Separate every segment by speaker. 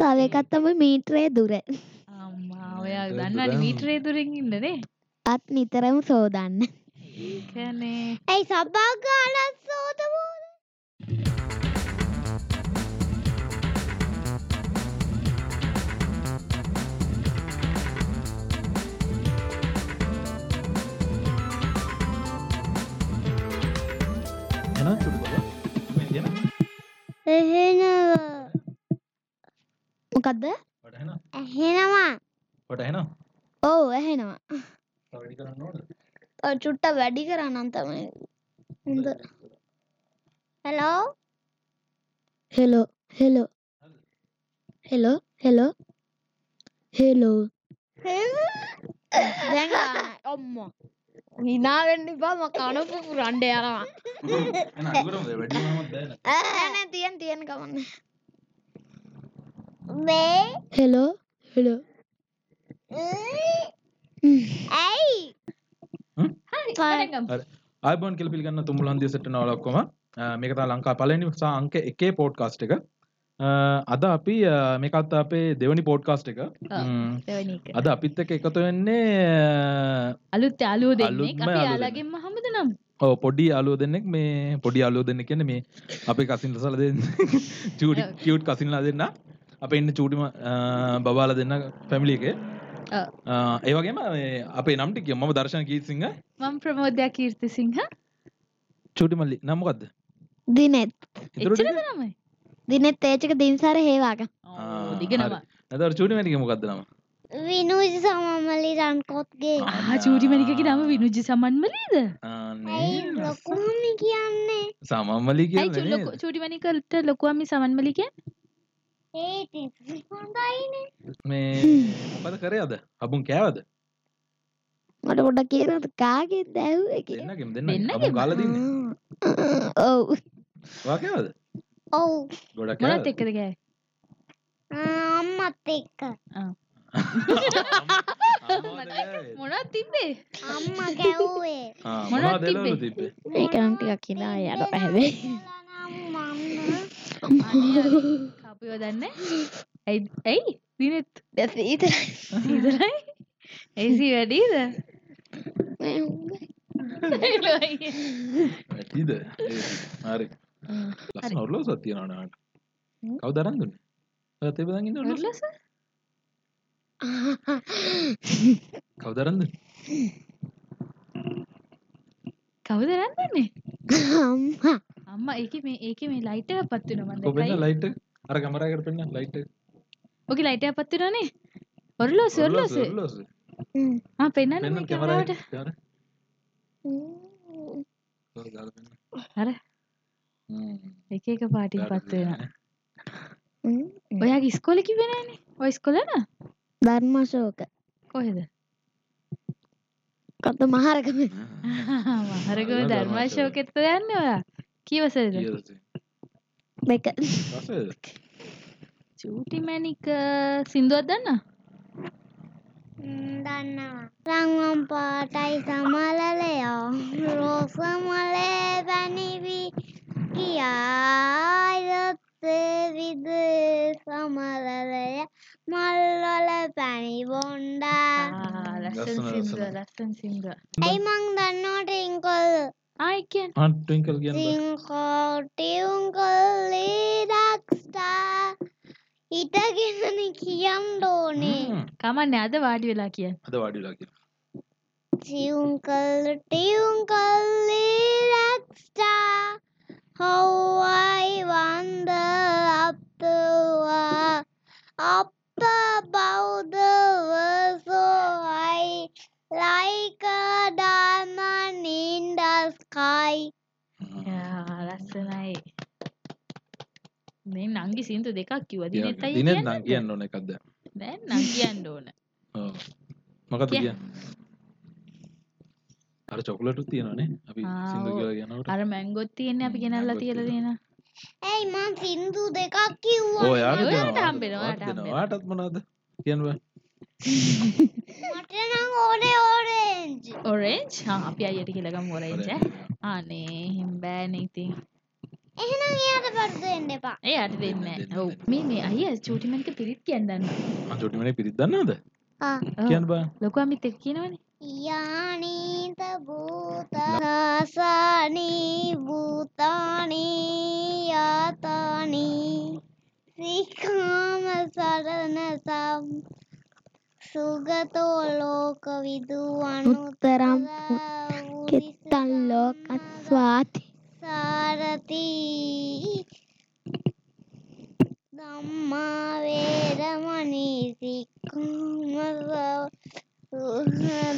Speaker 1: තව එකත් තමයි මීට්‍රය දුර
Speaker 2: අම්මා
Speaker 3: නෑ,
Speaker 2: ඔයා
Speaker 3: ඒක
Speaker 2: දන්න
Speaker 3: දුරම.
Speaker 2: මීටරේ දුරින් ඉන්නනේ
Speaker 1: අත් නිතරම සෝදන්න
Speaker 2: කනේ
Speaker 1: ඇයි සබාගාලත් සෝදමෝ
Speaker 3: එනත් තුරු බල. මේ කියන
Speaker 1: එහෙනවා මොකක්ද
Speaker 3: වට එනවා.
Speaker 1: ඇහෙනවා
Speaker 3: වට එනවා.
Speaker 1: ඕ ඇහෙනවා
Speaker 3: තව වැඩි කරන්න ඕනද?
Speaker 1: තව චුට්ට වැඩි කරන්නම් තමයි හොඳ hello hello hello hello hello hello දැන් ඔම්ම නිනාවෙන්න එපා ම කනපු පුරන්ඩ යනවා
Speaker 3: එන අගරම වැඩි වෙනවද බෑන.
Speaker 1: ඇන තියෙන් තියෙන් කමන්න මේ හෙලෝ හෙලෝ ඇයි
Speaker 2: තරගම්
Speaker 3: iPhone කියලා පිළිගන්න තුමුලන් දිය සෙට් වෙනවා ඔක්කොම. අ, මේක තමයි ලංකා පළවෙනි සා අංක 1 පොඩ්කාස්ට් එක. අ, අද අපි අ, මේකත් අපේ දෙවනි පොඩ්කාස්ට් එක. ම්ම්.
Speaker 2: දෙවනික
Speaker 3: අද අපිත් එක්ක එකතු වෙන්නේ අ,
Speaker 2: අලුත් යාළුවෝ දෙන්නේ
Speaker 3: අලුත්ම
Speaker 2: අපි
Speaker 3: යාළුවෝ
Speaker 2: යාලගෙන්ම හමුද නම්
Speaker 3: ඔව් පොඩි යාළුවෝ දෙන්නෙක් මේ පොඩි යාළුවෝ දෙන්නෙක් කියන්නේ මේ අපේ කසින් ලසලා දෙන්න චූටි කියුට් කසින්ලා දෙන්න අපේ ඉන්න චූටිම බබාලා දෙන්න ෆැමිලි එකේ
Speaker 2: ඔව්.
Speaker 3: අ, ඒ වගේම මේ අපේ නම් ටික මම දර්ශන කීර්තිසිංහ
Speaker 2: මම ප්‍රමෝදයා කීර්ති සිංහ
Speaker 3: චූටි මල්ලි නම මොකද්ද
Speaker 1: දිනෙත්
Speaker 3: ඉතුරු
Speaker 2: එච්චරද
Speaker 3: ටික?
Speaker 2: නමයි
Speaker 1: දිනෙත් ඒචක දින්සාර හේවාක
Speaker 2: ඕ
Speaker 3: ආ,
Speaker 2: දිගනවා
Speaker 3: හරි. නැතර චූටි මල්ලිගේ මොකද්ද නම
Speaker 1: විනුජ සමමලි රන්කොත්ගේ
Speaker 2: ආ චූටි මණිකගේ නම විනුජ්ජ සමන්මලීද
Speaker 3: ආ
Speaker 1: ලොකුම කියන්නේ
Speaker 3: සමම්මලි
Speaker 2: ඇයි චු-
Speaker 3: කියන්නේ
Speaker 2: ලොකු- චූටි මණිකට ලොකුවම සමන්මලි කියන්නේ
Speaker 1: ඒ හොඳයින
Speaker 3: මේ මොකද කරේ අද හබුන් කෑවද
Speaker 1: මට ගොඩ කියනද කාගෙත් දැව්ව එක
Speaker 3: දෙන්නගෙම දෙන්න
Speaker 2: දෙන්නගෙම.
Speaker 3: හබුන් කාලා දින්නේ
Speaker 1: ඔව්
Speaker 3: වා කෑවද
Speaker 1: ඔව්
Speaker 3: ගොඩක්
Speaker 2: මොනත්
Speaker 3: කෑවද
Speaker 2: එක්කද ගෑ
Speaker 1: අම්මත් එක්ක
Speaker 3: අම්මවද කෑවේ?
Speaker 2: මොනත් තිබ්බේ
Speaker 1: අම්ම ගැව්වේ
Speaker 3: ආ,
Speaker 2: මොනවද
Speaker 3: මොනවද එළවලු
Speaker 2: තිබ්බේ?
Speaker 3: තිබ්බේ
Speaker 1: ඒකනම් ටිකක් කියලා යට පැහැවේ
Speaker 2: කපයෝ දන්න ඇයි ඇයි දිනෙත්
Speaker 1: දැසීතරයි
Speaker 2: ඉදරයි ඇසි වැඩීද
Speaker 3: ඇතිද හරි ලස්සන ඔරලෝ සත්තියනට කව දරන් දුන්න තේ බදගන්න ඔල
Speaker 2: ඔරලස
Speaker 3: කව දරන්ද
Speaker 2: කවුද රන්දන්නේ
Speaker 1: අම්මා
Speaker 2: අම්මා ඒක මේ ඒක මේ ලයිට පත්වන
Speaker 3: කොබෙන්න
Speaker 2: මද
Speaker 3: ලයිට් අර ගමරකට පෙන්න්න ලයිට්
Speaker 2: ඕක ලයිට පත්තිරනේ ඔරලෝ සොල්ලස
Speaker 3: ලොස
Speaker 2: පෙන්න්න
Speaker 3: පෙන්න්න කැමරට
Speaker 2: කැමරට හර එක එක පාටින් පත්වෙන ඔයා ඉස්කොල කිවෙනන ඔයිස් කොලන
Speaker 1: ධර්මශෝක
Speaker 2: කොහෙද
Speaker 1: කත මහරකම
Speaker 2: මහරකව
Speaker 3: ඔයා ධර්මාශෝක.
Speaker 2: ධර්මාශෝකෙත්ත යන්න ඔයා කියවසද
Speaker 1: දෙක
Speaker 2: චූටිමැනික සිින්දුවත් දන්න
Speaker 1: දන්නවා රංවම් පාටයි සමලලයෝ රෝසමලේ වැනිවී කියායොත්තේ විද සමලලය මල්ලොල පැණි බොන්්ඩා
Speaker 2: ලස්සන
Speaker 3: ලස්සන,
Speaker 2: සිින්දුව
Speaker 3: ලස්සන.
Speaker 2: ලස්සන් සිින්දුව
Speaker 1: ඇයි මං දන්නවට ඉංකොල්
Speaker 2: ආයකෙන්
Speaker 3: ආටකල් කියන
Speaker 1: සිංකෝටියුන්කොල්ලේඩක්ස්ටා හිටගෙනන කියම් ඩෝනේ
Speaker 3: Hmm.
Speaker 2: කමන්න අද වාඩි වෙලා කිය
Speaker 3: අද වඩිලා කිය
Speaker 1: සිංකල් ටියුන්කොල්ලේඩක්ස්ටා හොවයි වන්ද අපවා අප බෞද්ධවසෝයි ලයිකඩාමනින්ඩස්කයි
Speaker 2: ලස්සනයි මේ නංගි සිින්දු දෙකක් කිව දිනතයි
Speaker 3: දින නම් කියන්න ඕන එකක්ද
Speaker 2: දැන් නං කියන්න ඕන
Speaker 3: ඔව්. මොකද
Speaker 2: කිය.
Speaker 3: කිය අර චොකලටු තියෙනනේ අපි
Speaker 2: ආ,
Speaker 3: සිින්දු
Speaker 2: ඔව්.
Speaker 3: කියලා කියනට
Speaker 2: අර මැංගොත් තියෙන්නේ අපි ගෙනල්ලා
Speaker 3: මැංගොත්
Speaker 2: තියල
Speaker 3: තියෙන.
Speaker 2: දෙෙන
Speaker 1: ඇයි මං සින්දු දෙකක් කිව්වා
Speaker 3: ඔයාට
Speaker 2: ඔයාට
Speaker 3: දෙනවා,
Speaker 2: හම්බෙනවා,
Speaker 3: ඔයාට
Speaker 2: ඔයාට
Speaker 3: දෙනවා.
Speaker 2: හම්බෙනවා.
Speaker 3: ඔයාටත් මොනවද කියනවා
Speaker 1: මට නම් ඕනේ ඕරෙන්ජ්
Speaker 2: ඔරෙන්ච් අපි අයට කියලගම් ඔරෙන්ච අනේ හිම්බෑන ඉතින්
Speaker 4: එහෙනම් එයාට බඩු දෙන්න එපා.
Speaker 2: ඒ අට දෙන්න ඔව මේ මේ අය චූටිමනික පිරිත් කියන්නන්න
Speaker 3: චොටිමට පිරිදන්නද
Speaker 4: ආ.
Speaker 3: කියන්න බා
Speaker 2: ලොකමිත් එක් කියනවන
Speaker 4: යානීත භූත රාසානී භූතානී යාතානී සිකාම සරණ සම් සුගතෝ ලෝක විදුවන්
Speaker 1: උත්තරම් කෙත්තන් ලෝකත් ස්වාති
Speaker 4: සාරති ධම්මා වේරමණී සික්ඛාමසව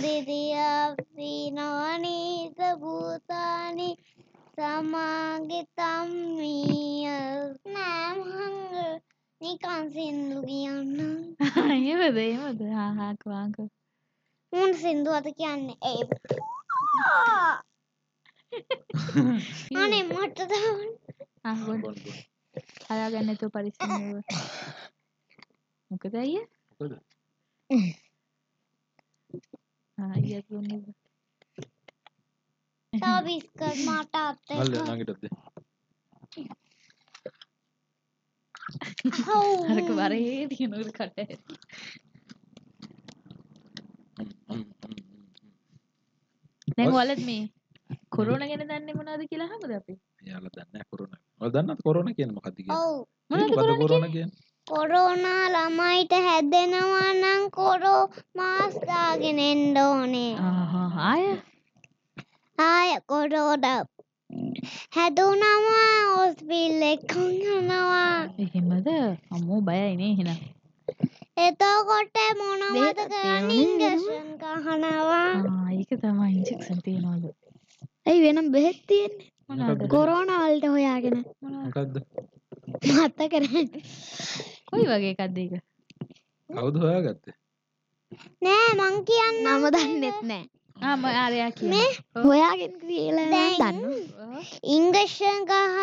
Speaker 4: දිදියාපිනවනීත භූතානි සමාගිතම් මිය නෑම් හංග නිකන් සින්දු කියන්න
Speaker 2: ඒමද ඒමද හාහාක්වාක
Speaker 4: මුන් සින්දු අත කියන්න ඒ අනේ මට දවන්
Speaker 2: අහගොඩ හලාගන්නතු පරිසව මොකද අය
Speaker 3: මොකද?
Speaker 2: ආය
Speaker 4: තව බිස්කට් මට අත්තේ
Speaker 3: අල්ල නගටත්ද
Speaker 2: හරක වරේ තියනට කට නැ
Speaker 3: ඔස්.
Speaker 2: වලත් මේ කොරුණ ගැන දන්න මොනාද කියලා හමද අපි
Speaker 3: යාල දන්න කොරන දන්නත් කොරන කියන මකතික
Speaker 4: ඔව්
Speaker 2: මොනවද කොරෝනා
Speaker 3: කොරන කිය
Speaker 4: කොරෝනා ළමයිට හැදෙනවා නම් කොරෝ මාස් දාගෙන එන්න ඕනේ
Speaker 2: ආහා, ආය
Speaker 4: ආය කොරෝඩ හැදුනවා ඔස්පිල් එකං යනවා
Speaker 2: එහෙමද අම්මෝ බයයිනේ එහෙන
Speaker 4: එතකොට මොනවද
Speaker 1: දෙකක්
Speaker 4: කරන්න
Speaker 1: තියෙනවා
Speaker 4: ඉන්ගෂන් කහනවා
Speaker 2: ඒක තමයි ඉන්ජෙක්ෂන් තියනවලු
Speaker 1: ඇයි වෙනම් බෙහෙත් තියෙන්නේ
Speaker 2: මොනාද?
Speaker 1: කොරෝනවල්ට හොයාගෙන
Speaker 2: මොනාද?
Speaker 3: මොකක්ද
Speaker 1: මත්ත කරන්න
Speaker 2: කොයි වගේ එකක්ද ඒක
Speaker 3: කවුද හොයා ගත්තේ
Speaker 4: නෑ මං කියන්න
Speaker 1: නම දන්නෙත් නෑ
Speaker 2: ආම ආරයා කියන
Speaker 1: හොයාගෙන කියලා
Speaker 4: දැන්
Speaker 1: දන්න
Speaker 4: ඉංගෂන් ගහ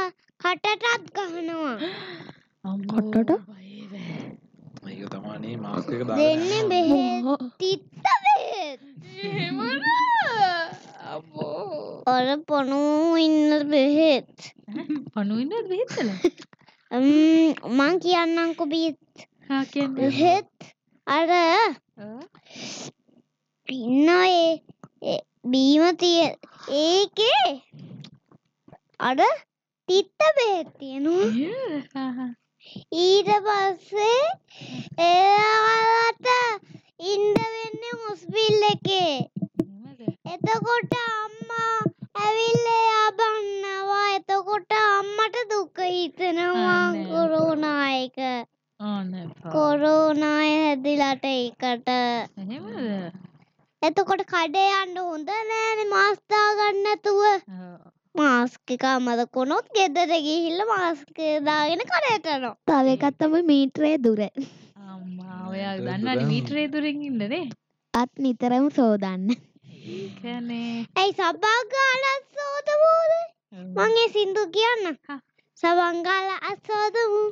Speaker 4: කටටත් ගහනවා
Speaker 1: කොට්ටොට?
Speaker 3: ඒක තමානේ මාස්ක දා
Speaker 4: දෙන්න බෙහෙත් තිත්ත බෙහෙත් ඔර පොනූ ඉන්න බෙහෙත්
Speaker 2: පනුවෙන්ඩත් බෙහෙත්තල
Speaker 4: ම්ම්, මං කියන්නංකො බීත්
Speaker 2: හාකෙන්
Speaker 4: බෙහෙත් අර ඉන්න ඒ ඒ බීම තිය ඒකේ අර තිත්ත බෙහෙත් තියෙනවා ඊට පස්සේ එයාට ඉන්ඩ වෙන්න මුස්පිල් එකේ එතකොට අම්මා ඇවිල්ල එයා බන්නවා එතකොට අම්මට දුක හිතනවා
Speaker 2: අනේ.
Speaker 4: කොරෝනායක
Speaker 2: ඕන
Speaker 4: කොරෝනාය හැදිලට එකට
Speaker 2: එහෙමද
Speaker 4: එතකොට කඩේ අන්න හොඳ නෑන මස්ථා ගන්නතුව
Speaker 2: ආ.
Speaker 4: මාස්කික අමද කොනොත් ගෙදර ගිහිල්ල මාස්කදාගෙන කරයටනවා
Speaker 1: තව එකක් තමයි මීටරේ දුර
Speaker 2: අම්මා ඔයා දන්නට මීටරේ දුරින් ඉන්නනේ
Speaker 1: අත් නිතරම සෝදන්න
Speaker 2: කැනේ
Speaker 4: ඇයි සබාගාල අස්සෝතවූද මගේ සින්දු කියන්න
Speaker 2: හා.
Speaker 4: සවංගාල අස්සෝදමු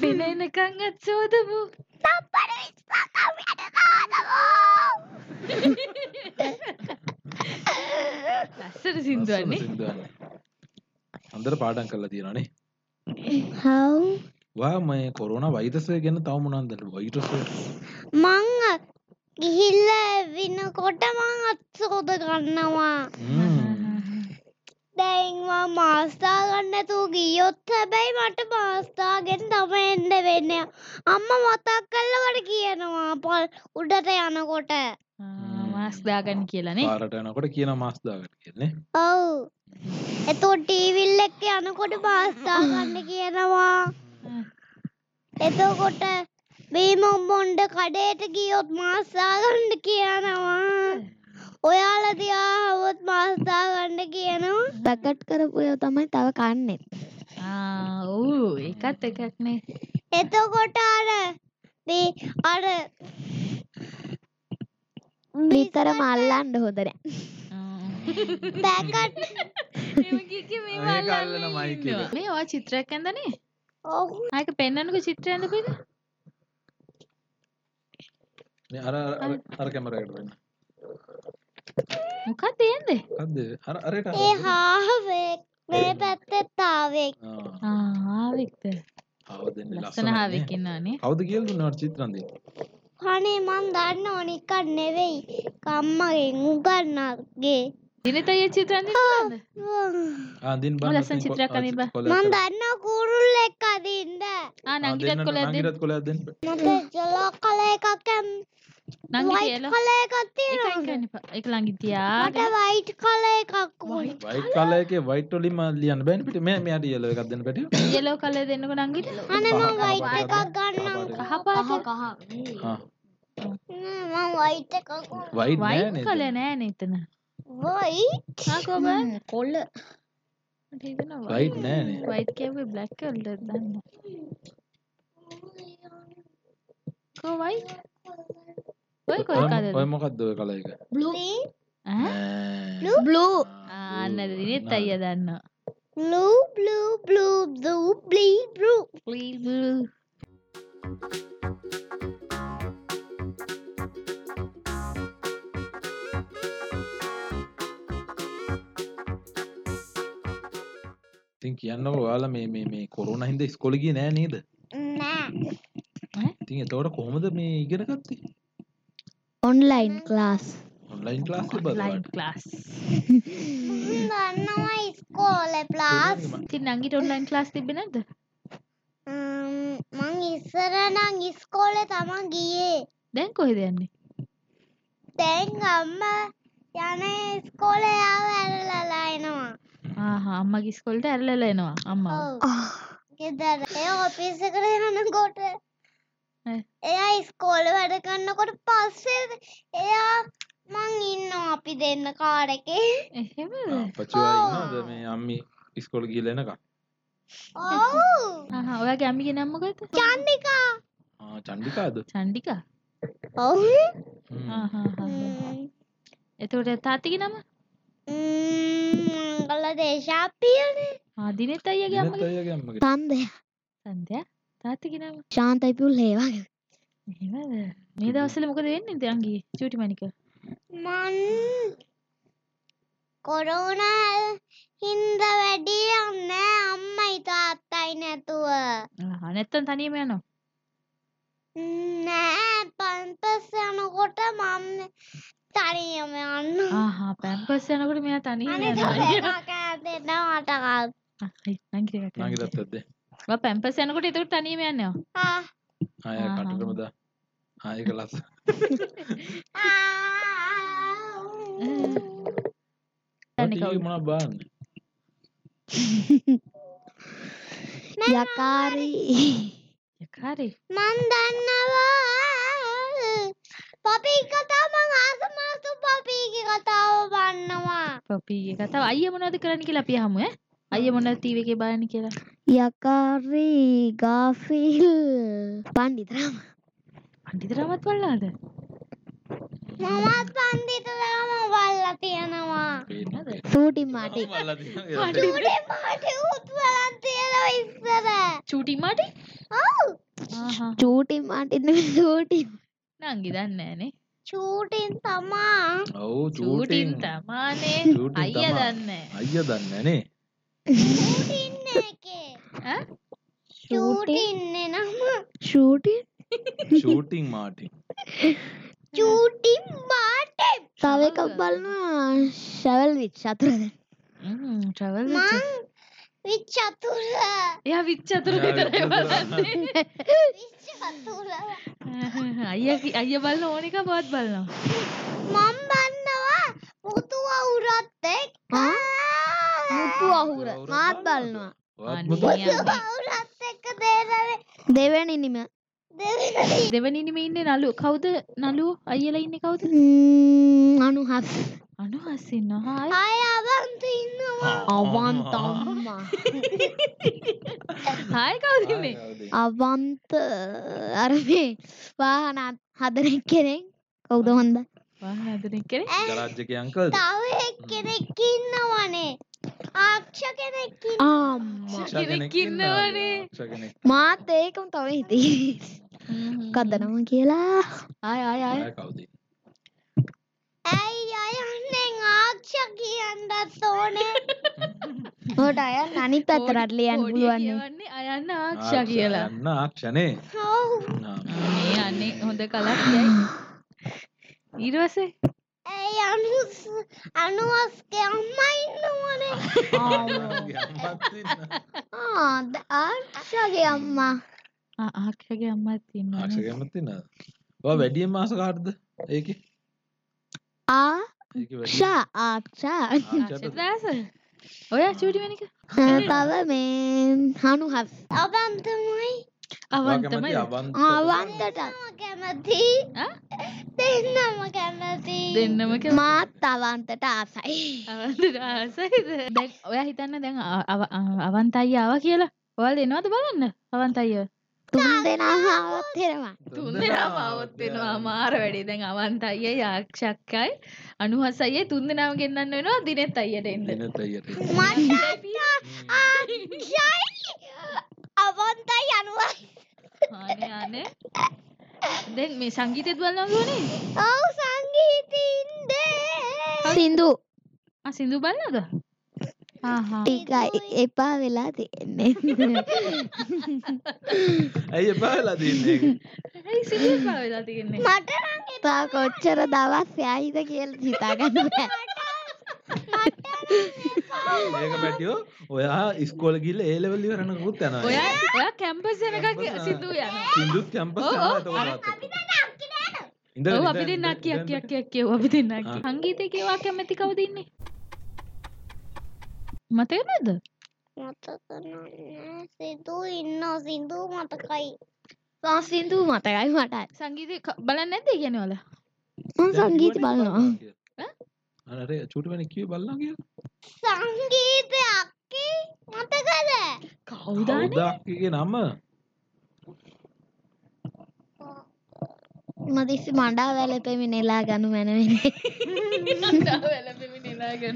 Speaker 2: පෙනෙනකං අත්සෝදපු
Speaker 4: තප්පර විස්සකම් යටකාදවෝ
Speaker 2: ලස්සට සිින්දුවන්නේ
Speaker 3: හොඳර පාඩන් කරලා තියෙනනේ
Speaker 4: හව්
Speaker 3: වා මේ කොරුණ වෛදසය ගැන තව මොනන්දට වයිටස
Speaker 4: මං ගිහිල්ල විනකොට මං අත්සෝද ගන්නවා දැන්වා මාස්ථා ගන්නතු ගියොත් හැබැයි මට මාස්ථාගෙන් තම එන්න වෙන්න අම්ම මතක් කල්ලවට කියනවා පොල් උඩට යනකොට
Speaker 2: මාස්දාගන්න කියලනේ
Speaker 3: පාරට යනකොට කියන මස්දාගට කියන්නේ
Speaker 4: ඔව් එතෝ ටීවිල් එක්ක යනකොට පාස්ථා ගන්න කියනවා එතකොට බීමොම් බොන්්ඩ කඩේට ගියොත් මාස්සාගණ්ඩ කියනවා ඔයාලදියාාවත් මාස්ථාගණ්ඩ කියනවා
Speaker 1: පැකට් කරපුය තමයි තව කන්නෙත්
Speaker 2: ඔවු එකත් එකක්නේ
Speaker 4: එතකොට අර මේ අර
Speaker 1: නිතර මල්ලන්ඩ හොදර
Speaker 4: පැකට්
Speaker 3: ඒක අල්ලන මයික් එක.
Speaker 2: මේ ඔය චිත්‍රයක් ඇඳනේ
Speaker 4: ඔහු
Speaker 2: ආයක පෙන්න්නනක චිත්‍රයඳ පිද
Speaker 3: මේ අර අර- අර- අර කැමරකට වෙන්න
Speaker 2: මොකක් තියන්දේ
Speaker 3: කද අර අරයට
Speaker 4: ඒ හාහවෙක් මේ පැත්තෙත් තාවේ
Speaker 2: ආවික්ත
Speaker 3: අවදන්න
Speaker 2: ලස්සන හාවිකින්නානේ
Speaker 3: කවද කියල් දුන්නට චිත්‍රන්දී
Speaker 4: හනේ මන් දන්න ඕනිකන් නෙවෙයි කම්මගෙන් උගන්නගේ
Speaker 2: දිනතයේ චිත්‍රන්ද
Speaker 3: ආදින් බ
Speaker 2: ලස්සන චිත්‍රයක් අනිබ.
Speaker 4: මන් දන්න කුරුල් එක් අදින්ද
Speaker 2: ආ නංගිටත් කොල ඇද
Speaker 3: ගිරත් කොල දෙන්න
Speaker 4: මට ජලෝ කල එකකම්
Speaker 2: නංගි
Speaker 4: වයිට්
Speaker 2: කියලා
Speaker 4: කල එකක් තියෙනවා
Speaker 2: එක ළඟින් තියා
Speaker 4: මට වයිට් කල එකක් ඕනි
Speaker 3: වයිට් කලයක වයිට්ටොලිම ලියන්න බැනිපිට මේ මෙයාට ඉියල එකක්දන්න පැටිය
Speaker 2: යෙලෝ කල දෙන්නක නංගිට
Speaker 4: අනේ මම වයිට්
Speaker 3: කහ
Speaker 4: එකක් ගන්නම්
Speaker 3: පාට.
Speaker 2: කහ පාට
Speaker 4: නෑ, මම වයිට් එකක් ඕන.
Speaker 3: වයිට්
Speaker 2: වයිට්
Speaker 3: නෑ
Speaker 2: කල නෑ නේතන
Speaker 4: වයිට්
Speaker 2: ආකෝබ කොල්ල
Speaker 3: වයිට් නෑනේ
Speaker 2: වයිට් කැවේ බ්ලැක් කල්ඩ දන්න කොවයි ඔය කොයි කලද
Speaker 3: ඔය මොකක්දව කලයක
Speaker 4: blue
Speaker 2: ආ
Speaker 4: blue
Speaker 2: අන්න දිනෙත් අයිය දන්න
Speaker 4: blue blue blue blue blue blue
Speaker 3: තින් කියන්න ඔයාල මේ මේ මේ කොරුණ හින්ද ස්කොලගිය නෑ නේද
Speaker 4: නෑ
Speaker 3: ඉතින් එතවට කොහොමද මේ ඉගෙන ගත්ති
Speaker 1: ඔන්ලයින් ක්ලාස්
Speaker 3: ඔන්ලයින් ලාස්
Speaker 2: ලයින් ලාස්
Speaker 4: මම දන්නවා ඉස්කෝලේ ප්ලාස්
Speaker 2: ති නංගිට ඔන්ලයින් ලාස් තිබෙනද
Speaker 4: මං ඉස්සර නම් ඉස්කෝලේ තමන් ගියේ
Speaker 2: දැන් කොහෙද යන්නේ
Speaker 4: දැන් අම්ම යන ඉස්කෝලේ ආව ඇරලලා එනවා
Speaker 2: ආහා අම්මගේ ස්කොල්ට ඇරලල එනවා අම්මා
Speaker 4: ඔව් ගෙදර ඒ ඔෆිස් එකට යනකොට එයා ඉස්කෝලේ වැඩ කරනකොට පස්සේ එයා මං ඉන්නවා අපි දෙන්න කාර් එකේ
Speaker 2: එහෙම
Speaker 3: පචවාද මේ අම්මි ඉස්කොල ගිලනක
Speaker 4: ඔව්
Speaker 2: ඔයා ගැමිගේ නම්මකත
Speaker 4: චන්දිකා
Speaker 3: චන්ඩිකාද
Speaker 2: චන්ඩිකා
Speaker 4: ඔව්
Speaker 3: හ්ම්.
Speaker 4: ම්ම්.
Speaker 2: එතකොට තාතික නම
Speaker 4: ම්ම්, මංගල දේශාපියනේ
Speaker 2: ආදිනෙත් අයියගේ
Speaker 3: දිනත්
Speaker 2: අම්මගේ
Speaker 3: අයියගේ අම්මගේ.
Speaker 1: තන්දය
Speaker 2: සන්ධයා තාතික නම
Speaker 1: ශාන්තයිපුල් හේවා
Speaker 2: එහෙමද මේ දවසල මොකද වෙන්නේ දයන්ගේ චුටි මනික
Speaker 4: මන් කොරෝන හින්ද වැඩි යන්න අම්මයි තාත්තයි නැතුව
Speaker 2: නැත්තන් තනීම යනවා
Speaker 4: නෑ පන්පස් යනකොට මම තනියම යන්න
Speaker 2: ආහා පැම්පස් යනකොට මෙයා තනියම
Speaker 4: අනේ
Speaker 2: යනවා
Speaker 4: තව කෑ දෙන්න මටකල්
Speaker 2: අහ්, නංගි එකක්
Speaker 3: නංගි
Speaker 2: යන්න.
Speaker 3: දත්තත්ද
Speaker 2: ඔයා පැම්පස් යනකොට එතකොට තනියම යනවා
Speaker 3: අය
Speaker 2: ආහා.
Speaker 3: කටකමද ආයක ලස්
Speaker 2: දන්නේ කවුද?
Speaker 3: මන බාන්න
Speaker 1: යකාරී
Speaker 2: යකාරි
Speaker 4: මන් දන්නවා පපී කතා මං ආසමාසු පපීගේ කතාව බන්නවා
Speaker 2: පොපිගේ කතාව අයියා මොනවද කරන්න කියලා අපි අහමු ඈ අයියා මොනවද ටීවී එකේ බලන්නේ කියලා
Speaker 1: යකාරී ගාෆිල් පණ්ඩිතරම
Speaker 2: අන්තිතරමත් බලලාද
Speaker 4: මමත් පන්දිතලාම වල්ලා තියෙනවා
Speaker 1: සූටි මටි
Speaker 4: ටඩේ පාට උත් වලන් තියෙනවා ඉස්සර
Speaker 2: චූටි මාටි
Speaker 4: ඔව්
Speaker 2: ආහා
Speaker 1: චූටි මටින්න සූටි
Speaker 2: නංගි දන්නේ නැහනේ
Speaker 4: චූටින් තමා
Speaker 3: ඔවු
Speaker 2: චූටින්
Speaker 3: චූටින්
Speaker 2: තමානේ
Speaker 3: චූටින්
Speaker 2: අයියා
Speaker 3: තමා.
Speaker 2: දන්නේ
Speaker 3: අයිය දන්නනේ
Speaker 4: චූටින් එකේ
Speaker 2: ඈ
Speaker 4: චූටින් නම
Speaker 1: ෂූටි
Speaker 3: ෂූටිං මාටි
Speaker 4: චූටින් පාටේ
Speaker 1: තව එකක් බලනවා ශැවල් විච් අතුරද
Speaker 2: හ්ම් ට්‍රැවල්
Speaker 4: මං විච්චතුර
Speaker 2: එයා විච් අතුරු විතරයි බලන්නේ
Speaker 4: විච්චතුර
Speaker 2: අයිය අයිය බලන ඕනික බවත් බලනවා
Speaker 4: මං බන්නවා පුතුව උරත් එක්ක
Speaker 1: මුතු අහුර මාත් බලනවා
Speaker 4: පුතුව උරත් එක්ක දේරේ
Speaker 1: දෙවැනිනිම
Speaker 4: දෙවෙනි
Speaker 2: දෙවනිනිම ඉන්නේ නලු කවුද නලු අයියලා ඉන්නේ කවුද
Speaker 1: අනුහස්
Speaker 2: අනුහස් ඉන්නවා හායි
Speaker 4: අය අවන්ත ඉන්නවා
Speaker 1: අවන්තම්මා
Speaker 2: හායි කවුද ඉන්නේ
Speaker 1: අවන්ත අරමේ වාහනත් හදරෙක් කෙනෙක් කවුද හොඳ
Speaker 2: වාහන අතරින් කරේ
Speaker 3: ගරාජ්ජක අංකල්
Speaker 4: තව එක්කෙනෙක් ඉන්නවනේ ආක්ෂ කෙනෙක් ඉන්න
Speaker 1: ආම්
Speaker 2: කෙනෙක් ඉන්නවනේ.
Speaker 3: ක්ෂගෙනෙක්
Speaker 1: මාත් ඒකම තව හිතී කදනම කියලා
Speaker 2: ආය ආය ආය
Speaker 3: කවදී
Speaker 4: ඇයි අයන්නෙන් ආක්ෂ අච්චා කියන්නත් ඕනේ
Speaker 1: හොට අය නනි පැතරට ලියන්
Speaker 2: කෝඩිය
Speaker 1: පුළුවන්නේ
Speaker 2: කියවන්නේ අයන්න ආක්ෂා කියලා
Speaker 3: යන්න ආක්ෂණේ
Speaker 4: ඔව්
Speaker 2: මේ අන්නේ හොඳ කලක් කියයි ඊටවසේ
Speaker 4: ඒ අනුස් අනුස්ගේ අම්මා ඉන්නවනේ
Speaker 1: ආද ආර්ෂගේ අම්මා
Speaker 2: ආක්ෂගේ අම්මත් ඉන්නවා නේද?
Speaker 3: ආක්ෂගමතින වැඩියෙන් මාස කාර්ද ඒක
Speaker 1: ආක්ෂා ආක්ෂා
Speaker 2: ආක්ෂිත දාස ඔය චූටි වෙනික
Speaker 1: තව මේ හනුහස්
Speaker 4: අවන්තමයි
Speaker 2: අවන් තමයි
Speaker 1: ආවන්තට
Speaker 4: කැමති
Speaker 2: ආ?
Speaker 4: දෙන්නම කැමති
Speaker 2: දෙන්නම කියලා.
Speaker 1: මාත් අවන්තට ආසයි
Speaker 2: අවන්තට ආසයිද? දැන් ඔයා හිතන්න දැන් අ- අව- අ- අවන්ත අයියා ආවා කියලා. ඔයාල එනවද බලන්න? අවන්ත අයියා.
Speaker 1: තුන් දෙනා හාවත් හෙරවා
Speaker 2: තුන් දෙනාම આવොත් වෙනවා අමාර වැඩේ. දැන් අවන්ත අයියයි ආක්ෂක්කයි අනුහස අයියයි තුන් දෙනාම ගෙන්නන්න වෙනවා දිනෙත් අයියට එන්න.
Speaker 4: මට ආච්චයි අවන්තයි අනුවයි
Speaker 2: අනේ අනේ. දැන් මේ සංගීතෙත් බලන්න ඕනේ.
Speaker 4: ඔව් සංගීතින්ද
Speaker 1: සිින්දු
Speaker 2: ආ සින්දු බලනවද? ආහා.
Speaker 1: ටිකයි එපා වෙලා තියෙන්නේ
Speaker 3: ඇයි එපාලා දන්නේ
Speaker 2: ඇයි සින්දු පාවෙලා තියෙන්නේ?
Speaker 4: මට නම් එපා.
Speaker 1: තා කොච්චර දවස් යයිද කියල හිතාගන්න බෑ.
Speaker 3: ඒක පැටියෝ ඔයා ඉස්කෝල ගිල්ල ඒලවල්ලි වරනකුත් යන
Speaker 2: ඔයා ඔයා කැම්පස් යනකම් සින්දු යනවා.
Speaker 3: සිින්දුත් කැම්ප
Speaker 2: ඔව් ඔව්
Speaker 3: ඉඳ
Speaker 2: ඔව් අපි දෙන්නක් කියක් කියක් කියක් කියව අපි දෙන්නක්
Speaker 3: ආ.
Speaker 2: සංගීතය කියවා කැමැති කවුද ඉන්නේ මතක නැද්ද
Speaker 4: මතක නෑ සිදු ඉන්න සිදු මතකයි
Speaker 1: සිින්දු මතකයි මටයි
Speaker 2: සංගීතය ක- බලන්න නැද්ද ඉගෙන වල
Speaker 1: මං සංගීත බලනවා
Speaker 3: අනරේ චුටුවැනි කිව බල්ලා කිය
Speaker 4: සංගීතය අක්කි මතකද
Speaker 2: කවුද
Speaker 3: දක්ගේ නම්ම
Speaker 1: මදිස්සි මඩා වැලපෙමි නෙලා ගනු මැනවෙන්නේ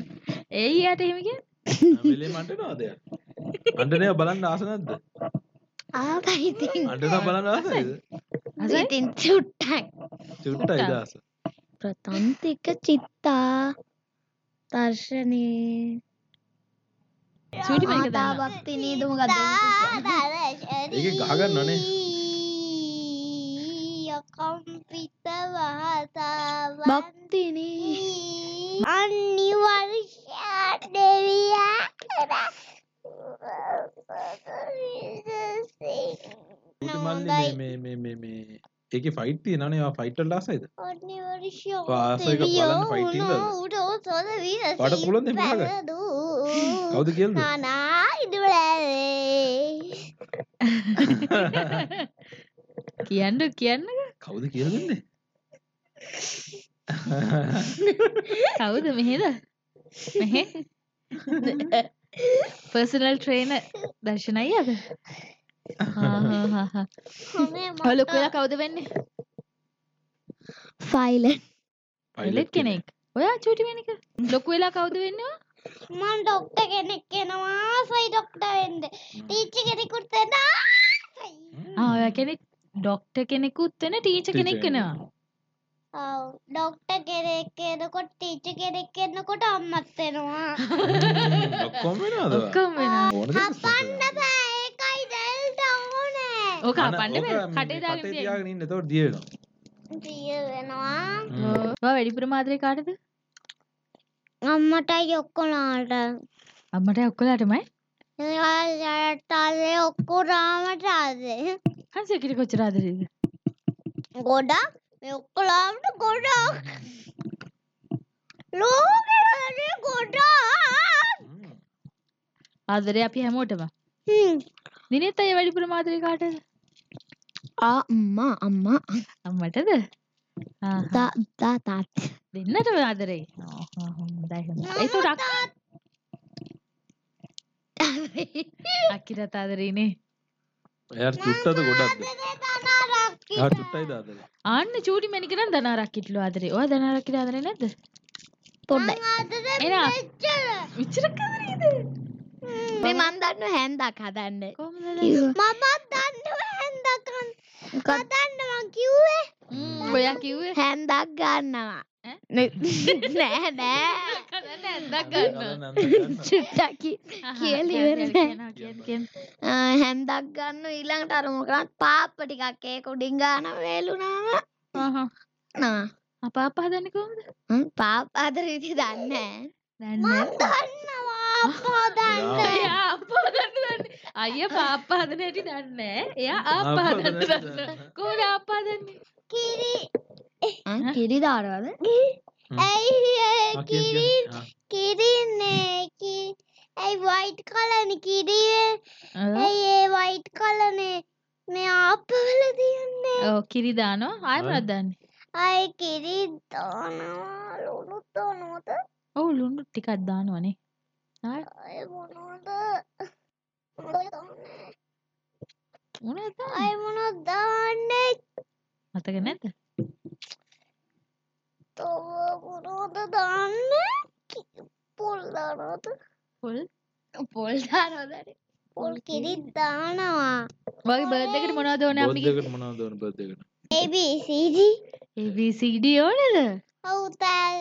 Speaker 2: ඒ යට එහෙම කිය
Speaker 3: ලේ මට නවාදය අටනය බලන්න ආසනත්ද
Speaker 1: ආතයිති
Speaker 3: අටතා බලන්න ආසයිද
Speaker 1: ඉතින් චුට්ටයි
Speaker 3: චුට්ට අයිදස
Speaker 1: ප්‍රතන්තික චිත්තා දර්ශනී
Speaker 2: සූටි මේක දාන්න
Speaker 1: ආතාවක්ති නීදුම ගද
Speaker 4: ඒක
Speaker 3: ඒක ගහගන්න ඕනේ.
Speaker 4: යකම්පිත වහතාව
Speaker 1: භක්තිනී
Speaker 4: අනිවර්ෂා දෙවියා
Speaker 3: මල්ල ඒක ෆයිට නනේ ෆයිටල් ලාසයිද
Speaker 4: අනිවර්ෂා
Speaker 3: වාසයක බලන්න fighting වල.
Speaker 4: උඩෝතොද
Speaker 3: වඩ පුලොන්ද මේ වගේ? කවුද කියල්ද
Speaker 4: නානා ඉදුලේ
Speaker 2: කියන්න කියන්න
Speaker 3: කවුද කියලන්නේ
Speaker 2: කවුද මෙහෙද මෙහෙ පර්සනල් ට්‍රේන දර්ශනයි අද
Speaker 4: හොමේ මම
Speaker 2: හොලොක්වෙලා කවුද වෙන්නේ
Speaker 1: ෆයිල
Speaker 2: එලෙක් කෙනෙක් ඔයා චූටිමනික ලොකු වෙලා කවුද වෙන්නවා
Speaker 4: මම ඩොක්ටර් කෙනෙක් වෙනවා ආසයි ඩොක්ටර් වෙන්න ටීචර් කෙනෙකුට වෙන්න ආසයි.
Speaker 2: ආ, ඔයා කෙනෙක් ඩොක්ට කෙනෙකුත් වෙන ටීච
Speaker 3: ටීචර්
Speaker 2: කෙනෙක් වෙනවා
Speaker 4: ඔව් ඩොක්ටර් කෙනෙක් වෙනකොට ටීචර් කෙනෙක් වෙනකොට අම්මත් වෙනවා
Speaker 3: ඔක්කොම වෙනවද ඔයා?
Speaker 2: ඔක්කොම වෙනවා
Speaker 3: ඕන දෙයක්
Speaker 4: හපන්න බෑ ඒකයි දැල්ට ඕනේ
Speaker 2: ඕක
Speaker 3: අන-
Speaker 2: අපන්න
Speaker 3: ඕක මේ
Speaker 2: කටේ දාගෙන
Speaker 3: කටේ
Speaker 2: තියෙන
Speaker 3: තියාගෙන ඉන්න එතකොට දිය වෙනවා
Speaker 4: දිය වෙනවා
Speaker 3: හ්ම්.
Speaker 2: ඔව්. ඔයා වැඩි ප්‍රමාදරේ කාටද
Speaker 4: අම්මටයි ඔක්කොලාට
Speaker 2: අම්මට ඔක්කොලාටමයි
Speaker 4: ටාලේ ඔක්කොරාමටාදේ
Speaker 2: හන්සකිට කොච්චර ආදරේද
Speaker 4: ගොඩක් මේ ඔක්කොලාට ගොඩක් ලෝකේ ගොඩා
Speaker 3: හ්ම්.
Speaker 2: ආදරේ අපි හැමෝටම දිනෙත් අය වැඩි ප්‍රමාදරේ කාටද
Speaker 1: ආ අම්මා අම්මා
Speaker 2: අම්මටද ආ,
Speaker 1: තා තා තාත්
Speaker 2: දෙන්නටම ආදරේ ආ, ආ, හොඳයි, හොඳයි. ඒතකොට අක්- අක්කිටත් ආදරේනේ
Speaker 3: එයාට චුට්ටද ගොඩක්ද එයා
Speaker 4: ගොඩක්
Speaker 3: චුට්ටයි දාදල
Speaker 2: ආන්න චූටි මැනිකනම් දනාරක්කිටලු ආදරේ ඔයා දනාරක්කිට ආදරේ නැද්ද
Speaker 1: පොඩ්ඩයි
Speaker 2: එනවා.
Speaker 4: මම
Speaker 2: විචරක් ආදරේද
Speaker 1: මේ මන් දන්න හැන්දක් හදන්න
Speaker 2: කොහොමද
Speaker 4: දන්නව හැන්දකන් කතන්න මං කිව්වේ
Speaker 2: ම්ම්, ඔයා කිව්වේ
Speaker 1: හැන්දක් ගන්නවා
Speaker 2: ඈ?
Speaker 1: නෑ නෑ
Speaker 2: කදන්න නැන්දක් ගන්න
Speaker 1: චුට්ටකි කියල ඉවරයි.
Speaker 2: කිය
Speaker 4: හැන්දක් ගන්න ඊළඟට අරමුකත් පාප්ප ටිකක් ඒක උඩින් ගාන වේලුනාම නා
Speaker 2: අපාපා හදන්නේ කොහොමද
Speaker 4: හ්ම්, පාප් අතර ඉති දන්න
Speaker 2: දන්නේ
Speaker 4: මම
Speaker 2: නැහැ.
Speaker 4: දන්නවා පොදන්න
Speaker 2: එයා ආප්පා හදන්න දන්නේ අයියා පාප්පා හදන හැටි දන්නේ නැහැ. එයා ආප්පා
Speaker 3: ආප්පා
Speaker 2: හදන්න
Speaker 3: හදන්න
Speaker 2: දන්න
Speaker 3: දන්නවා.
Speaker 2: කොහොමද ආප්පා හදන්නේ
Speaker 4: කිරි
Speaker 1: කිරි දාරවද
Speaker 4: ඇයි ඒ කිරි කිරින්නේ කි ඇයි වයිට් කලන කිරිය ඇයි ඒ වයිට් කලනේ මේ ආප්පවල තියන්නේ
Speaker 2: ඔව් කිරි දානවා ආයෙ මොනවද දන්නේ
Speaker 4: අයි කිරි දානවා ලුණුත් දානවද
Speaker 2: ඔව් ලුණු ටිකක් දානවනේ ආයෙ
Speaker 4: අය මොනවද මොනවද දාන්නේ?
Speaker 2: මොනවද දාන්නේ?
Speaker 4: අය මොනවද දාන්නේ
Speaker 2: මතක නැද්ද
Speaker 4: තව මොනවද දාන්නේ කි- පොල් දානවද
Speaker 2: පොල්
Speaker 1: පොල් දාරවදර
Speaker 4: පොල් කිරි දානවා
Speaker 2: වගේ බර්ත් එකට මොනවද ඕන අපිට
Speaker 3: බොද්දකට මොනවද ඕන බොද්දකට
Speaker 4: ABCD
Speaker 2: ABCD ඕනද
Speaker 4: ඔව් තෑ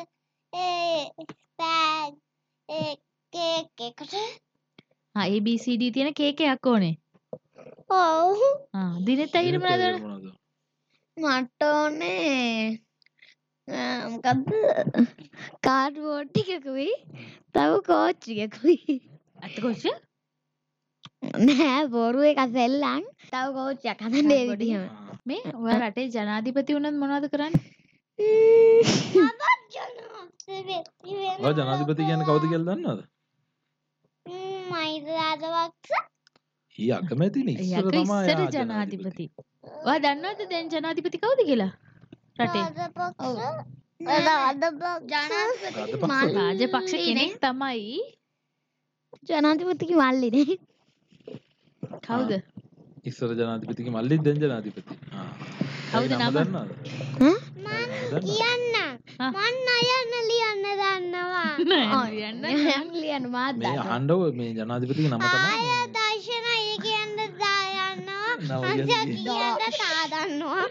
Speaker 4: ඒ තෑ ඒ කේක් එකට
Speaker 2: ආ ABCD තියෙන කේක එකක් ඕනේ
Speaker 4: ඔව්
Speaker 2: ආ දිනෙත් ඇහිර මොනවද ඕන
Speaker 3: මොනවද
Speaker 4: මට ඕනේ අ, මොකක්ද කාඩ්බෝඩ් ටිකකුයි තව කෝච්චිකකුයි
Speaker 2: අතකොච්ච
Speaker 4: නෑ බොරු එක සෙල්ලන් තව කෝච්චයක් හදන්න ඒ විදිහම
Speaker 2: මේ ඔය රටේ ජනාධිපති වුණත් මොනවද කරන්නේ
Speaker 3: ඔය ජනාධිපති කියන්නේ කවුද කියලා දන්නවද?
Speaker 4: මයිරාදවක්ස
Speaker 3: ඊ අකමැතිනේ ඉස්සර
Speaker 2: යක
Speaker 3: තමයි
Speaker 2: ඉස්සර
Speaker 3: ආ ජනාධිපති.
Speaker 2: ජනාධිපති ඔයා දන්නවද දැන් ජනාධිපති කවුද කියලා රටේ
Speaker 3: රාජපක්ෂ.
Speaker 2: රාජපක්ෂ කෙනෙක් තමයි
Speaker 4: ජනාධිපතික වල්ලිනේ
Speaker 2: කවුද
Speaker 3: ඉස්සර ජනාධිපතිගේ මල්ලිත් දැන් ජනාධිපති. ආ.
Speaker 2: කවුද
Speaker 3: ඒ
Speaker 2: නම?
Speaker 3: දන්නවද?
Speaker 4: හ්ම්?
Speaker 3: දන්නවද?
Speaker 4: කියන්න
Speaker 2: ආ.
Speaker 4: මන්න අයන්න ලියන්න දන්නවා
Speaker 2: නෑ, ලියන්න
Speaker 1: ලියන මාත්
Speaker 3: මේ අහන්නව මේ ජනාධිපතිගේ නම
Speaker 4: ආය
Speaker 3: තමයි.
Speaker 4: දර්ශන අය කියන්න දායන්නවා
Speaker 3: නව
Speaker 4: අන්ස
Speaker 3: කියන්නේ.
Speaker 4: කියන්න තාදන්නවා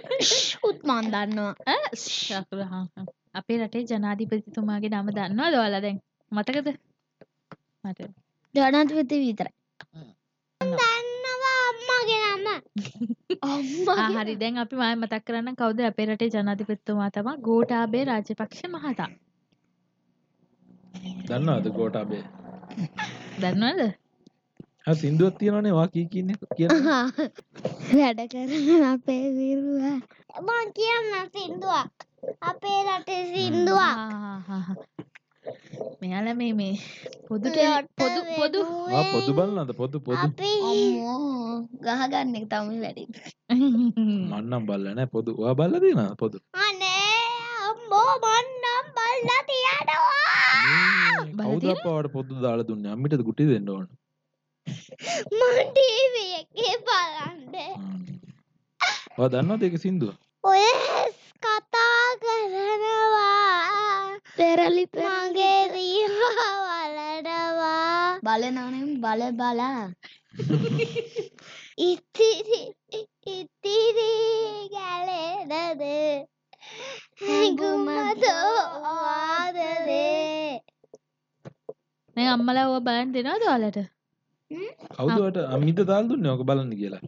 Speaker 1: උත්මන් දන්නවා
Speaker 2: ඈ, ෂ්, අකුර හා, හා. අපේ රටේ ජනාධිපතිතුමාගේ නම දන්නවද ඔයාලා දැන් මතකද මට
Speaker 1: ජනතපති විතර
Speaker 4: දන්නවා අම්මගේ නම
Speaker 2: ආ, හරි දැන් අපි මම මතක් කරන්න කවුද අපේ රටේ ජනාධිපතිතුමා තමයි ගෝඨාභය රාජපක්ෂ මහතා
Speaker 3: දන්නවද ගෝඨාභය?
Speaker 2: දන්නවද
Speaker 3: ආ සින්දුවක් තියෙනවනේ වා කී කියන්නේ කියලා.
Speaker 1: වැඩ කරන අපේ විරුව
Speaker 4: මං කියන්න සින්දුවක් අපේ රටේ සින්දුවක්
Speaker 2: ආහාහා. මෙයාලා මේ මේ පොදු ටෙලි-
Speaker 4: ලොට
Speaker 2: පොදු පොදු
Speaker 3: ආ පොදු බලනද පොදු පොදු.
Speaker 4: අපි
Speaker 1: අම්මෝ ගහගන්න එක තමයි වැඩි
Speaker 3: මන්නම් බලලා නැහැ පොදු. ඔයා බලලා තියෙනවද පොදු?
Speaker 4: අනේ අම්මෝ මන්නම් බල්ලා තියනවා
Speaker 3: මේ කවුද අපවට පොදු දාලා දුන්නේ? අම්මිටද ගුටි දෙන්න ඕන.
Speaker 4: මං ටීවී එකේ බලන්න
Speaker 3: හ්ම්. ඔයා දන්නවද ඒක සින්දුව?
Speaker 4: ඔය ඇස් කතා කරනවා
Speaker 1: පෙරලි
Speaker 4: මගේ දීවා වලනවා
Speaker 1: බලනනම් බල බලා
Speaker 4: ඉතිරි ඉතිරි ගැලෙනද හැඟුමතෝ ආදරේ
Speaker 2: මේ අම්මලා ඔය බලන් දෙනවද ඔයාලට
Speaker 3: කවුද ඔයාට අම්මිට දාලා දුන්නේ ඔක බලන්න කියලා?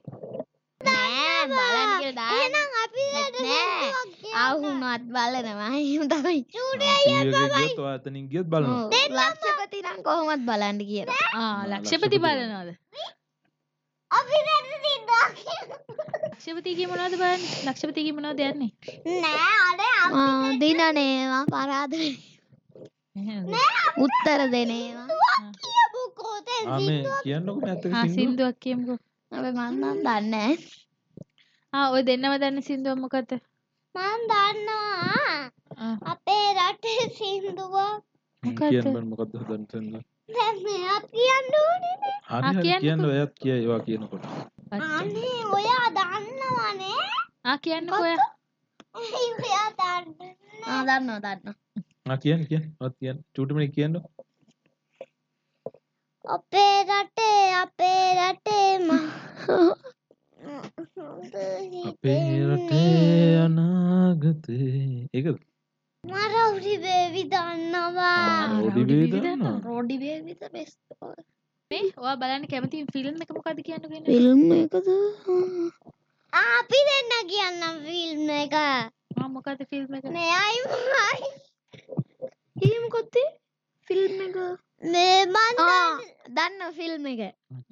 Speaker 1: නෑ බලන්න කියලා දාන්න
Speaker 4: එහෙනම් අපි රට
Speaker 1: නෑ. ආහුනත් බලනවා එහෙම තමයි
Speaker 3: ටීවී එකේ ගියොත් ඔයා එතනින් ගියොත් බලනවා.
Speaker 1: ලක්ෂපති නම් කොහොමත් බලන්න කියලා
Speaker 2: ආ ලක්ෂපති බලනවද
Speaker 4: අපි රට
Speaker 2: ලක්ෂපති කිය මොනවද බලන්නේ ලක්ෂපති කිය මොනවද යන්නේ
Speaker 4: නෑ අනේ අපි
Speaker 1: ආ, දිනනේවා පරාද උත්තර දෙනේවා
Speaker 4: කියමුකෝ දැන්
Speaker 3: ආ මේ කියන්නකො මේ ඇත්තක
Speaker 2: ආ
Speaker 3: සින්දුව.
Speaker 2: සින්දුවක් කියමුකෝ
Speaker 1: අපි මන්නම් දන්නේ
Speaker 2: ආ ඔය දෙන්නම දන්න සින්දුව මොකක්ද
Speaker 4: මං දන්නවා
Speaker 2: ආ,
Speaker 4: අපේ රටේ සින්දුව
Speaker 3: හ්ම්,
Speaker 2: මොකද්ද?
Speaker 3: කියන්න බෑ මොකද්ද හදන්න තියෙන්නේ.
Speaker 4: දැන් මෙයා කියන්න ඕනේ නේ.
Speaker 2: ආ,
Speaker 3: හරි හරි
Speaker 2: කියන්නකෝ.
Speaker 3: කියන්න ඔයත් කිය ඒවා කියනකොට.
Speaker 2: අච්චා.
Speaker 4: අනේ ඔයා දන්නවනේ
Speaker 2: ආ කියන්නකෝ ඔයා
Speaker 4: ඔයා දන්න
Speaker 1: ආ දන්නවා දන්නවා
Speaker 3: ආ කියන්න කියන්න. ඔයත් කියන්න. චූටිමනේ කියන්න.
Speaker 4: අපේ රටේ අපේ රටේ මහ
Speaker 3: අපේ රටේ අනාගතේ. ඒකද?
Speaker 4: මරවුරි බේවි දන්නවා
Speaker 2: ආ,
Speaker 3: රෝඩි
Speaker 2: රවුඩි
Speaker 3: බේවි
Speaker 2: බේවි
Speaker 3: දන්නවා.
Speaker 2: දන්නවා.
Speaker 4: රෝඩි බේවිත බෙස්තෝ
Speaker 2: මේ ඔයා බලන්න කැමති ෆිල්ම් එක මොකද කියන්න කියන්නේ
Speaker 1: ෆිල්ම් එකද
Speaker 4: අපි දෙන්න කියන්නම් ෆිල්ම් එක
Speaker 2: ආ, මොකද ෆිල්ම් එක
Speaker 4: මෙයයි මයි
Speaker 1: ෆිල්ම් කොත්තේ ෆිල්ම් එක
Speaker 4: මේ මන් දන්න-
Speaker 1: දන්න ෆිල්ම් එක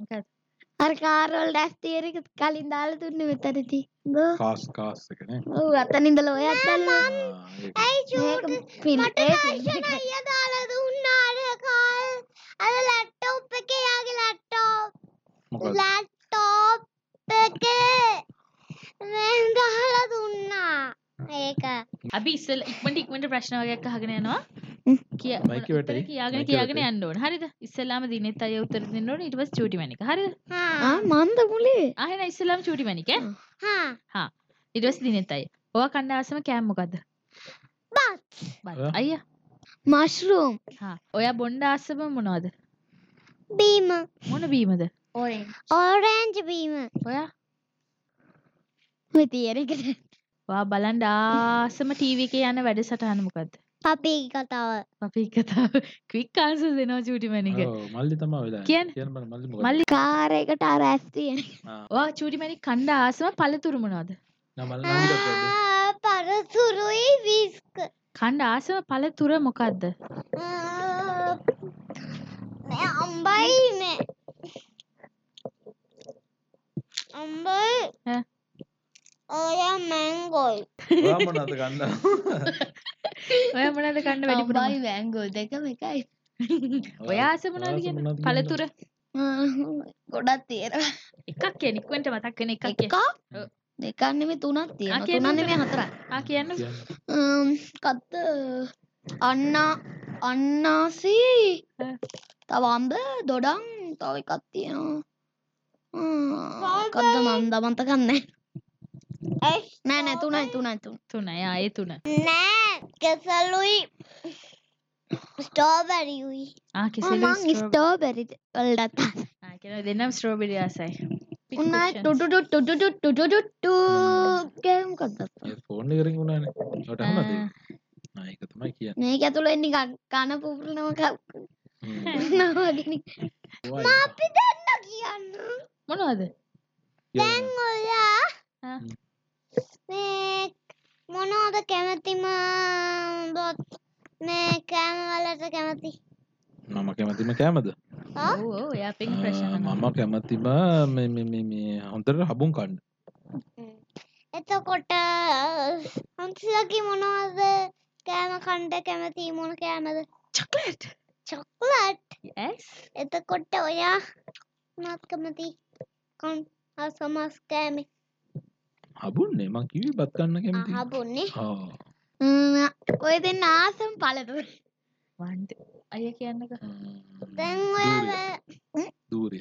Speaker 2: මොකද
Speaker 1: අර කාරවල් ඩැස්තේරක කලින් දාලා තුන්න මෙතනති
Speaker 3: කාස් කාස් එකනේ
Speaker 1: ඔව් අතනින්දල ඔයත් දන්න
Speaker 3: ආ, ඒක.
Speaker 4: ඇයි චූට් මට දර්ශන අයිය දාලා දුන්නාර කාල් අර ලැප්ටොප් එකේ යාගේ ලැප්ටොප්
Speaker 3: මොකද
Speaker 4: ලැප්ටොප් එකේ මෙන් දාලා දුන්නා ඒක
Speaker 2: අපි ඉස්සෙල් ඉක්මට ඉක්මට ප්‍රශ්න වගේක් අහගෙන යනවා කිය
Speaker 3: මයිකෙ
Speaker 2: උත්තර
Speaker 3: වැටෙයි.
Speaker 2: කියාගෙන
Speaker 3: මයිකෙ
Speaker 2: කියාගෙන
Speaker 3: වැටෙයි.
Speaker 2: යන්න ඕන හරිද ඉස්සෙල්ලාම දිනෙත් අය උත්තර දෙන්න ඕන ඊට පස්සේ චූටි මැනික හරිද
Speaker 4: හා
Speaker 1: ආ මන්ද මුලේ
Speaker 2: ආයෙන ඉස්සෙල්ලාම චූටි මැනික ඈ?
Speaker 4: හා
Speaker 2: ඊට පස්සේ දිනෙත් අය ඔයා කණ්ඩායම කෑම මොකද්ද
Speaker 4: බත්
Speaker 2: බත්
Speaker 3: ඔයා?
Speaker 2: අයියා
Speaker 1: මශ්රූම්
Speaker 2: හා ඔයා බොණ්ඩ ආසම මොනවද
Speaker 4: බීම
Speaker 2: මොන බීමද
Speaker 1: ඔය
Speaker 4: ඔරෙන්ජ් බීම
Speaker 2: ඔයා
Speaker 1: තියෙනකට
Speaker 2: වා බලන් ආසම ටීවී එකේ යන වැඩසටහන මොකද්ද
Speaker 4: අපේ කතාව
Speaker 2: අපි කතාව ක්වික් ආන්සර් දෙනවා චූටි මැනික
Speaker 3: ඔව්, මල්ලි තමයි වෙලා
Speaker 2: කියන්න.
Speaker 3: කියන්න බෑ, මල්ලි මොකද
Speaker 2: මල්ලි
Speaker 1: කාරයකට අර ඇස් තියෙන
Speaker 2: ඔයා චූටි මැනික කණ්ඩා ආසම පළතුරු මොනවද
Speaker 3: නෑ, මල්ලි නම් හිතත් වැඩේ.
Speaker 4: ආ, පරතුරුයි විස්ක
Speaker 2: කණ්ඩා ආසම පළතුර මොකද්ද
Speaker 4: ආ, මේ අම්බයි මේ අම්බයි
Speaker 2: ඈ.
Speaker 4: ඔය මැංගොයි
Speaker 3: ඔයා මොනවද ගන්න
Speaker 2: ඔයා මොනවද කන්න වැඩිපුර මොනවද?
Speaker 1: වැංගෝ දෙකම එකයි
Speaker 2: ඔයා ආස මොනවද
Speaker 3: ආස
Speaker 2: කියන්නේ
Speaker 3: මොනවද කියන්නේ?
Speaker 2: පළතුර
Speaker 1: ගොඩක් තියෙනවා
Speaker 2: එකක් කියන ඉක්මනට මතක් වෙන එකක් කිය.
Speaker 1: එකක්
Speaker 2: ඔව්.
Speaker 1: දෙකක් නෙමෙයි තුනක් තියෙනවා
Speaker 2: කියන්න
Speaker 1: තුනක් නෙමෙයි
Speaker 2: තුනක්.
Speaker 1: හතරක්
Speaker 2: ආ කියන්න
Speaker 3: කියන්න.
Speaker 1: ම්, කත්ත අන්නා අන්නාසි
Speaker 2: ඈ.
Speaker 1: තව අම්බ දොඩම් තව එකක් තියෙනවා කද්ද මන්ද මන්තකන්න නෑ නෑ තුනයි තුනයි තුන
Speaker 2: තුන යා ඒ තුන.
Speaker 4: නෑ කෙසලුයි ස්ටෝබරියුයි
Speaker 2: ආ කෙසෙලු
Speaker 1: මං
Speaker 2: ස්ට්‍රෝබෙරි.
Speaker 1: ස්ටෝබෙරි වලටත්
Speaker 2: ආ කියන දෙන්නම් ස්ට්‍රෝබෙරි ආසයි. Pick
Speaker 1: උන්නයි
Speaker 2: questions.
Speaker 1: ටුටු ටුටු ටුටු ටුටු ටුටු ගේම් කද්දත්
Speaker 3: ඒ ෆෝන් එක රින් වුණානේ. ඔයාට අහන්නද ඒක?
Speaker 2: ආ,
Speaker 3: ආ, ඒක තමයි කියන්නේ.
Speaker 1: මේක ඇතුළේ නිකන් කන පුපුරනවා කන
Speaker 3: හ්ම්.
Speaker 1: වගේ
Speaker 3: ඔයා
Speaker 4: අපි දෙන්න කියන්න
Speaker 2: මොනවද?
Speaker 3: කියන්න.
Speaker 4: ඔයා
Speaker 2: ආ.
Speaker 4: මේ මොනෝද කැමතිම බොත් මේ කෑමවලට කැමති
Speaker 3: මම කැමතිම කෑමද?
Speaker 4: ආ?
Speaker 2: ඔව් ඔව් එයා පින් ප්‍රශ්න
Speaker 3: ආ,
Speaker 2: අහනවා.
Speaker 3: මම කැමතිම මේ මේ මේ මේ හොඳට හබුන් කන්න.
Speaker 4: එතකොට අන්තිසකි මොනවද කෑම කණ්ඩ කැමති මොන කෑමද
Speaker 2: චොක්ලට්.
Speaker 4: චොක්ලට්
Speaker 2: yes
Speaker 4: එතකොට ඔයා නත් කැමති කන් අසමස් කෑම
Speaker 3: හබුන්නේ මං කිව්වේ බත් කන්න කැමති.
Speaker 4: අහබුන්නේ
Speaker 3: ආ.
Speaker 1: ම්, ඔය දෙන්න ආසම් පලතුර
Speaker 2: මන්ද අයියා කියන්නක.
Speaker 3: ම්ම්.
Speaker 4: දැන්
Speaker 3: දූරය.
Speaker 4: ඔයා
Speaker 3: දූරය.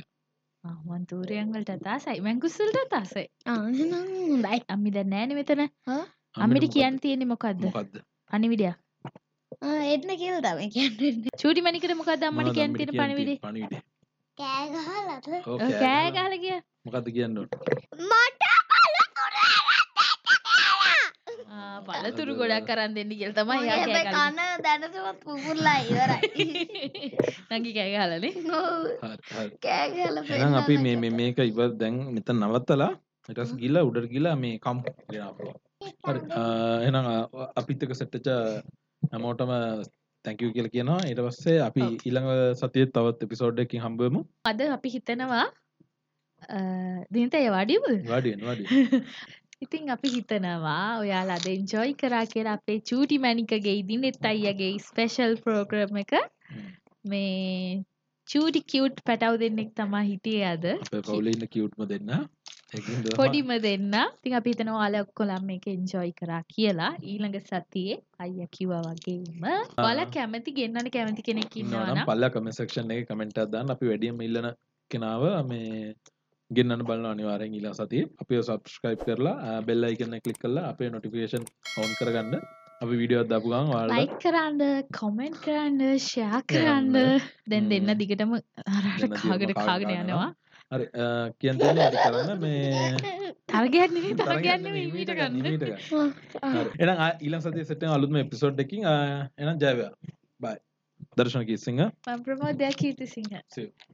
Speaker 2: ආ මන් තූරයන් වලට ආසයි. මැංගුස් වලට ආසයි.
Speaker 1: හොඳයි
Speaker 2: අම්මි දැන් නෑනේ මෙතන.
Speaker 3: අම්මට
Speaker 2: අම්මිට
Speaker 3: මොකද්ද?
Speaker 2: කියන්න තියෙන්නේ මොකද්ද?
Speaker 3: මොකද්ද?
Speaker 2: පණිවිඩයක්.
Speaker 1: එන්න කියල් තම කියන්න
Speaker 2: චූටි මැනිකට මොකද්ද අම්මට
Speaker 3: මොනවද
Speaker 2: කියන්න
Speaker 3: අම්මිට
Speaker 2: තියෙන
Speaker 3: කියන්න
Speaker 2: පණිවිඩේ?
Speaker 3: තියෙන්නේ? පණිවිඩේ.
Speaker 4: කෑගහලද
Speaker 3: ඔව්,
Speaker 2: ඔව්,
Speaker 3: කෑ
Speaker 2: කෑ
Speaker 3: ගහලා.
Speaker 2: ගහලා කිය.
Speaker 3: මොකද්ද කියන්න ඕන?
Speaker 4: මට පලතුර
Speaker 2: ආ පළතුරු ගොඩක් කරන් දෙන්න කියලා තමයි එයා කෑ ගහන්නේ.
Speaker 1: කන දැනසවත් පුපුල්ලා ඉවරයි
Speaker 2: නංගි කෑ ගහලනේ
Speaker 3: හරි, හරි.
Speaker 1: කෑගල
Speaker 3: එහෙනම් අපි මේ මේ මේක ඉවර දැන් මෙතන නවත්තලා ඊට පස්සේ ගිහලා උඩට ගිහලා මේ කම් ගෙනාවා. හරි එන අපිත්තක සට්ටච හැමෝටම තැංකව කියල කියනවා ඉට පස්සේ අපි
Speaker 2: ඔව්.
Speaker 3: ඉළඟ සතිය තවත් එපිසෝඩ්ඩකින් හම්බම
Speaker 2: අද අපි හිතනවා දිනතය වඩිබ
Speaker 3: ගඩියෙන් වඩ
Speaker 2: ඉතින් අපි හිතනවා ඔයාලා අද එන්ජොයි කරා කියලා අපේ චූටි මැනිකගේ ඉදිනෙත් අයියගේ ස්පෙෂල් ප්‍රෝග්‍රම් එක මේ චූටි කිවට් පැටව් දෙන්නෙක් තමා හිටියේ අද
Speaker 3: පවුලඉන්න කිව්ටම දෙන්න
Speaker 2: පොඩිම දෙන්න ඉතින් අපි හිතනවා ඔයාලා ඔක්කොලම් මේක එන්ජොයි කරා කියලා ඊළඟ සතියේ අයිය කිව්වා වගේම ඔයාලා කැමති ගෙන්නන්න කැමති කෙනෙක් ඉන්නවා
Speaker 3: නම්
Speaker 2: නම්
Speaker 3: පල්ල කමසක්ෂණ එක කමෙන්ට අදන්න අපි වැඩියම් ඉල්ලන කෙනාව මේ ගෙන්න්න බලන අනිවාරෙන් ඉලා සති අපි සබස්ක්‍රයිප් කරලා බෙල්ලයි කන්න කලික් කරලා අපේ නොටිකේෂන් ඔවන් කරගන්න අපි විඩියෝ දපුගන් වාල
Speaker 2: ලයික් කරන්න කොමෙන්ට් කරන්න ෂයා කරන්න දැන් දෙන්න
Speaker 3: හ්ම්.
Speaker 2: දිගටම අරට
Speaker 3: දෙන්න දිගටම
Speaker 2: කාගෙන
Speaker 3: කාගෙන
Speaker 2: කාගෙන
Speaker 3: යනවා.
Speaker 2: යනවා
Speaker 3: හරි කියන්න කරන්න මේ
Speaker 2: තරගයක් නෙවෙයි
Speaker 3: තරගයක්
Speaker 2: තරගයක්
Speaker 3: නෙමෙයි,
Speaker 2: නෙවෙයි මීට
Speaker 3: මීට ගන්න,
Speaker 2: ගන්න
Speaker 3: මීට ගන්න. හරි. එහෙනම් ආ ඊළඟ සතියේ සෙට් එක අලුත්ම එපිසෝඩ් එකකින් ආ, එහෙනම් ජය වේවා. බයි. දර්ශන කීසිංහ
Speaker 2: මම ප්‍රමෝදයක් කීර්තිසිංහ
Speaker 3: see you.